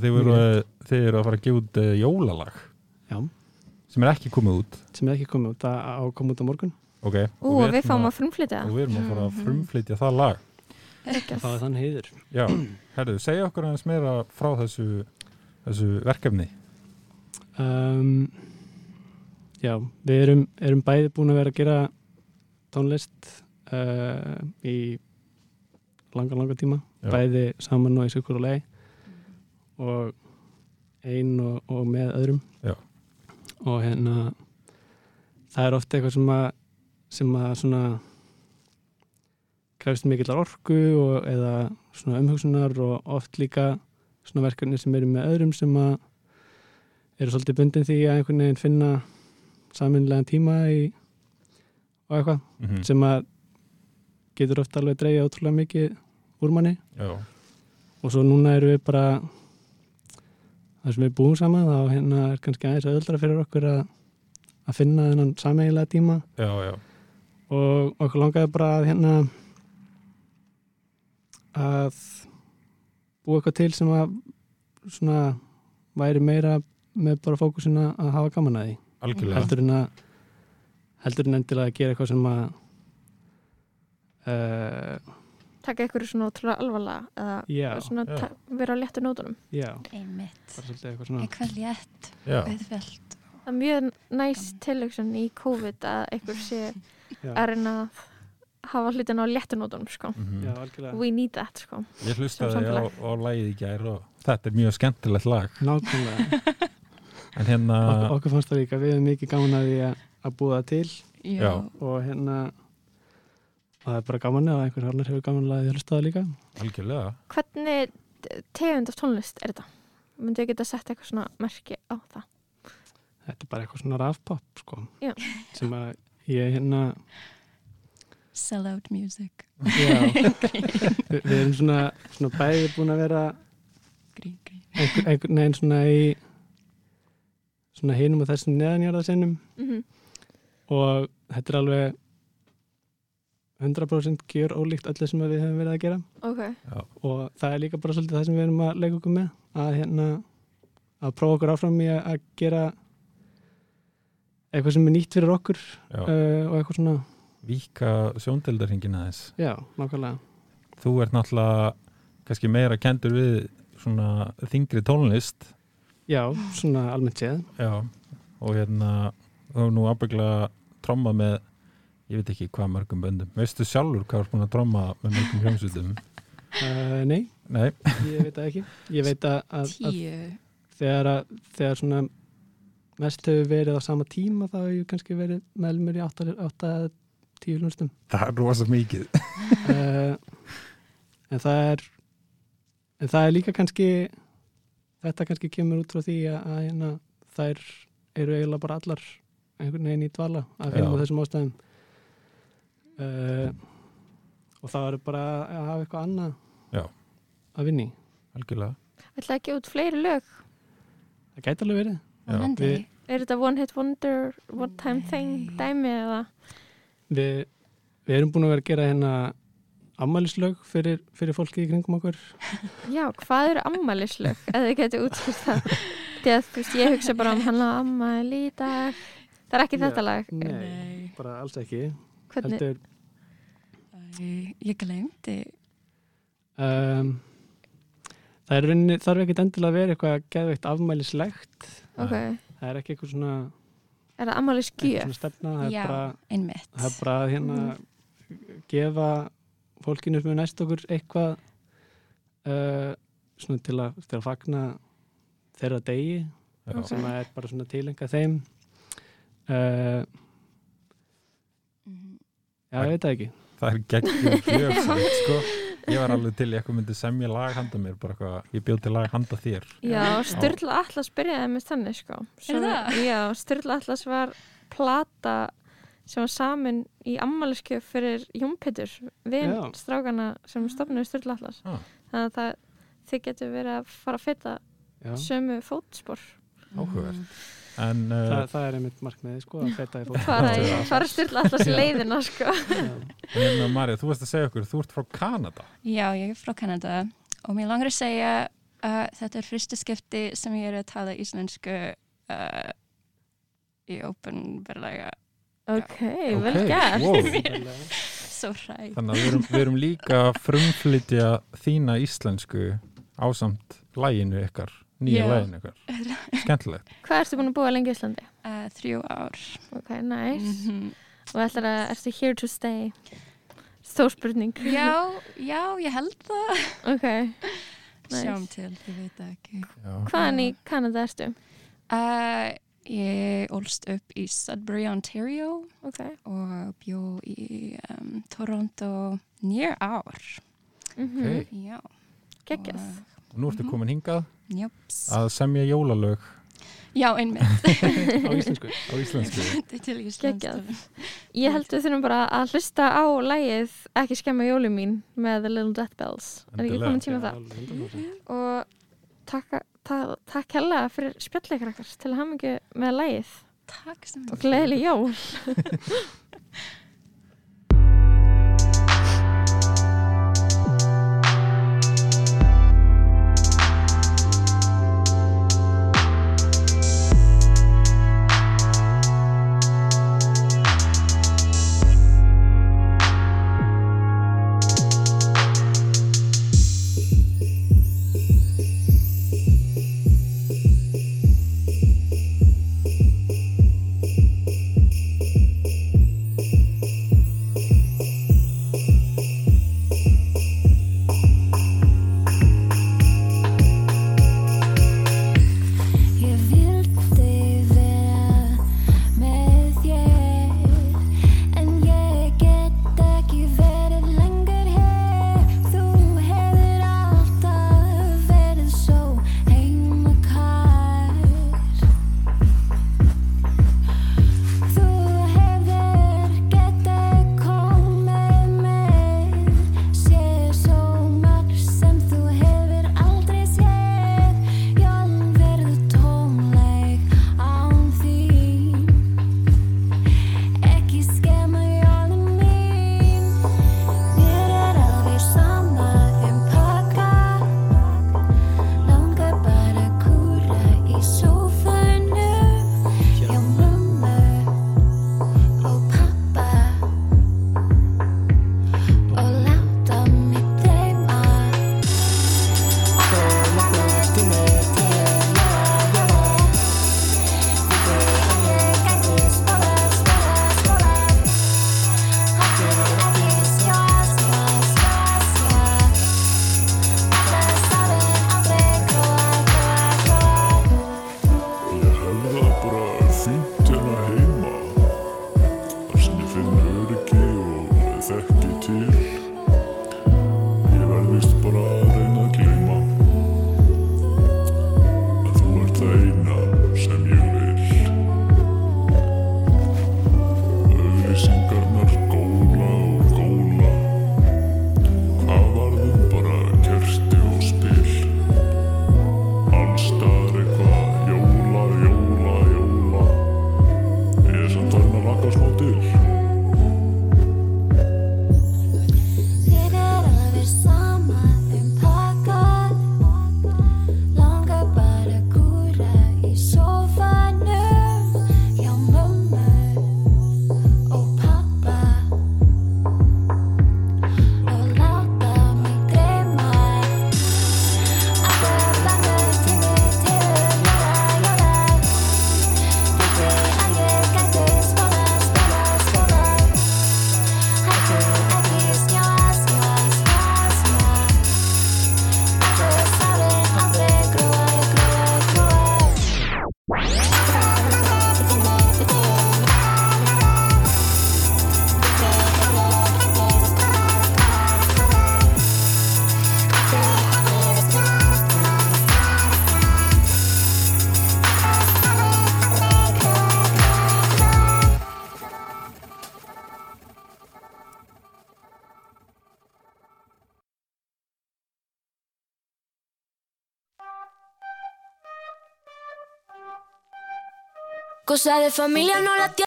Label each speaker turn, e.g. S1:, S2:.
S1: Þeir, voru, þeir eru að fara að gefa út eh, jólalag
S2: Já,
S1: sem er ekki komið út
S2: sem er ekki komið út að, að koma út á morgun
S1: ok,
S3: Ú, og við
S1: ætlum
S3: fáum að Mhm. frumflytja
S1: og við erum að fara að frumflytja það lag
S2: og það er þann heiður.
S1: já, herðu, segja okkur aðeins meira frá þessu, þessu verkefni
S2: Um, já, við erum, erum bæði búin að vera að gera tónlist uh, í langa, langa tíma,
S1: Já.
S2: bæði saman og í sykkur og lei og ein og, og með öðrum
S1: Já.
S2: og hérna það er ofta eitthvað sem að sem að svona krefst mikillar orku og, eða svona umhugsunar og oft líka svona verkefni sem eru með öðrum sem að eru svolítið bundin því að einhvern veginn finna saminlegan tíma í, og eitthvað
S1: mm
S2: sem að getur ofta alveg dreigja ótrúlega mikið úr manni
S1: já,
S2: og svo núna erum við bara þar sem við búum saman þá hérna er kannski aðeins öðuldra fyrir okkur að, að finna þennan sameiginlega tíma
S1: já, já,
S2: og okkur langaði bara að hérna að búa eitthvað til sem að svona væri meira með bara fókusina að hafa gaman að því
S1: algjörlega
S2: heldur en að heldur en endilega að gera eitthvað sem að uh,
S3: taka ykkur svona ótrúlega alvarlega eða
S2: já,
S3: svona
S1: já.
S3: ta- vera á léttu nótunum
S2: já,
S4: einmitt
S2: bara svolítið eitthvað svona
S4: eitthvað létt,
S1: já,
S4: auðvelt
S3: það er mjög næs tilöksun í COVID að ykkur sé
S2: Já.
S3: að reyna að hafa hlutin á léttu nótunum sko.
S1: mhm.
S2: já, algjörlega
S3: we need that sko.
S1: ég hlustaði á,
S3: Sem samfélag.
S1: á lagið í gær og þetta er mjög skemmtilegt lag
S2: nákvæmlega
S1: en hérna,
S2: Ok- okkur fannst það líka, við hefum mikið gaman að því að, að búa það til
S1: Já.
S2: og hérna og það er bara gaman að einhver annar hefur gaman að hlusta það líka
S1: algjörlega
S3: hvernig t- tegund af tónlist er þetta? myndi ég geta sett eitthvað svona merki á það
S2: þetta er bara eitthvað svona rafpop sko,
S3: Já.
S2: sem að ég hérna
S4: sell out music
S2: já, Vi, við erum svona, svona bæði búin að vera
S4: grín, grín.
S2: einhver, einhvern veginn svona í svona hinum og þessum neðanjarðasinnum
S3: mm -hmm.
S2: og þetta er alveg 100% gjör ólíkt öllu sem við hefum verið að gera
S3: ok,
S2: og það er líka bara svolítið það sem við erum að leika okkur með að hérna að prófa okkur áfram í að, að gera eitthvað sem er nýtt fyrir okkur
S1: Já.
S2: uh, og eitthvað svona,
S1: víka sjóndeldarhingin aðeins
S2: já, nákvæmlega
S1: þú ert náttúrulega kannski meira kendur við svona þingri tónlist
S2: já, svona almennt séð
S1: Já, og hérna þú hefur nú ábygglega trommað með ég veit ekki hvað mörgum böndum veistu sjálfur hvað er búin að tromma með mörgum hljómsveitum?
S2: uh, nei,
S1: Nei,
S2: ég veit það ekki ég veit að, að, að
S4: tíu
S2: þegar, að, þegar svona mest hefur verið á sama tíma þá hefur ég kannski verið með mér í 8 eða 10 hlunstum
S1: það er rosa mikið
S2: uh, en það er en það er líka kannski þetta kannski kemur út frá því að, að hérna, þær eru eiginlega bara allar einhvern veginn í dvala að finna
S1: Já.
S2: á þessum ástæðum uh, og það eru bara að hafa eitthvað annað
S1: Já.
S2: að vinni
S1: Algjörlega
S3: ætlaði ekki út fleiri lög
S2: það gæti alveg verið
S1: Já.
S4: vonandi
S3: er þetta one hit wonder, one time thing dæmi eða
S2: við, við erum búin að vera að gera hérna ammælislög fyrir, fyrir fólki í kringum okkur
S3: já, hvað eru ammælislög eða þið getið útskýrt það því að þú veist, ég hugsa bara um hann að ammæli í dag það er ekki
S2: Já, Mm.
S3: þetta lag
S4: Nei.
S2: bara alls ekki
S3: hvernig,
S2: heldur
S4: Æ, ég glemdi
S2: um, það er í rauninni, þarf ekkert endilega að vera eitthvað geðveikt afmælislegt
S3: ok,
S2: það er ekki eitthvað svona,
S3: er það ammælisgjöf
S2: eitthvað svona stefna það
S4: Já.
S2: er bara,
S4: einmitt
S2: það er bara að hérna
S3: Mm.
S2: gefa fólkinu sem er næst okkur eitthvað uh, svona til að, til að fagna þeirra degi
S1: Já.
S3: Ok.
S2: sem að er bara svona tilenga þeim uh,
S4: Mhm.
S2: já, ég veit það ekki
S1: Það er geggjum hljómsveit sko. Ég var alveg til í eitthvað myndi semja lag handa mér bara eitthvað, ég bjóð til lag handa þér
S3: Já, Sturla Atlas byrjaði með þannig sko. Svo-
S4: það?
S3: Já, Sturla Atlas var plata sem var samin í ammaliskef fyrir Jón Pétur við
S2: Já.
S3: strákana sem stofnuði Sturla Atlas
S1: Ah.
S3: þannig að það, þið getur verið að fara að feta
S2: já.
S3: sömu fótspor
S1: Áhugavert.
S4: Mhm.
S1: En uh,
S2: Það, það er einmitt markmiði sko að feta í fólk
S3: fara, í,
S2: Já.
S3: fara Sturla Atlas í leiðina sko.
S1: hérna Marja, þú varst að segja okkur, þú ert frá Kanada
S4: já, ég er frá Kanada og mér langar að segja Uh, þetta er fyrsta skipti sem ég er að tala íslensku uh, í ópenverlega
S3: ok, vel gert
S1: wow.
S4: svo hræ.
S1: þannig að við erum, við erum líka að frumflytja þína íslensku ásamt læginu ykkar nýja
S4: Já.
S1: læginu ykkar, skemmtilegt
S3: hvað ertu búin að búa lengi í Íslandi?
S4: Uh, þrjú ár.
S3: ok, nice
S4: Mhm.
S3: og ætlar að, ertu here to stay? stór spurning
S4: Já, já, ég held það.
S3: ok, Nice.
S4: Sjáum til, ég veit það ekki.
S1: Já.
S3: hvaðan í Kanada ertu?
S4: Uh, ég ólst upp í Sudbury, Ontario
S3: ok,
S4: og bjó í um, Toronto nýr ár.
S3: mhm,
S1: ok,
S4: Já.
S3: geggjast
S1: og nú
S2: Mhm.
S1: ertu komin hingað
S4: Jöps.
S1: að semja jólalög
S4: Já, einmitt.
S2: á íslensku
S1: á íslensku
S4: Þetta er til Íslands.
S3: Geggjað. Ég held við þurfum bara að hlusta á lægið Ekki skemma jóli mín með The Little Death Bells. Er ekki
S1: Endilega.
S3: komin tíma á það?
S2: alveg 100%.
S3: Og takk, takk, takk hella fyrir spjallleikar okkar til að hafa mikið með lægið
S4: Takk sem
S3: og gleðileg jól.
S5: Ég vildi vera með þér En ég get ekki verið lengur hér Þú hefur alltaf verið svo heimakær Þú hefur getið komið með Sér svo marg sem þú hefur aldrei séð Jón verður tómleg án þín Ekki skema jólin mín Mér er alveg sama þeim pakka Langar bara að kúra í sófanu Hjá mömmu og pappa Og láta mig dreyma
S6: Ég hefði það bara fínt hérna heima. Þar sem ég finn öryggi og þekki til. Ég verð vist bara að reyna að gleyma. Að þú ert það eina sem ég vil. Auglýsingarnar góla og góla. Hvað varðum bara kerti og spil? Allstar eitthvað jóla, jóla, jóla Ég er samt orðin að laka smá til
S5: Ég er alveg sama þeim pakkar Langar bara að kúra í sófanum Hjá mömmu og pappa Og láta mig dreyma Alltaf langar tími til jóla, jóla Þetta að ég gæti spóla, spóla, spóla Hættu ekki snjóa, snjóa, snjóa, snjóa Ættu sálinn aldrei grúa, grúa, grúa Cosa de familia no la tiene